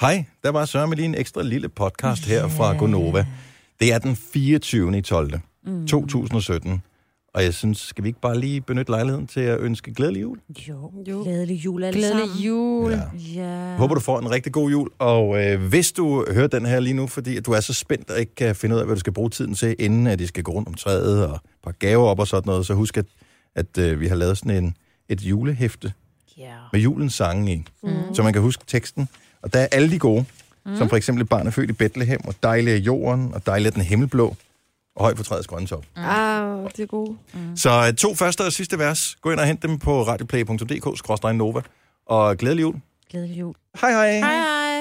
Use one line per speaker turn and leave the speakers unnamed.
Hej, der var Søren med lige en ekstra lille podcast her fra Gonova. Det er den 24. i 12. Mm. 2017. Og jeg synes, skal vi ikke bare lige benytte lejligheden til at ønske glædelig jul?
Jo,
Jo.
glædelig jul alle
Glædelig
sammen.
jul. Ja.
Ja.
Jeg håber, du får en rigtig god jul. Og øh, hvis du hører den her lige nu, fordi at du er så spændt og ikke kan finde ud af, hvad du skal bruge tiden til, inden at de skal gå rundt om træet og pakke gaver op og sådan noget, så husk, at, at øh, vi har lavet sådan en, et julehæfte
Ja.
med julens sange i, mm. så man kan huske teksten. Og der er alle de gode, mm. som for eksempel Barnet født i Bethlehem, og Dejlig er jorden, og Dejlig er den himmelblå, og Høj på træets grønne top.
Ah, det er godt.
Så øh, to første og sidste vers. Gå ind og hent dem på radioplay.dk-nova. Og glædelig jul.
Glædelig jul.
Hej hej.
Hej hej.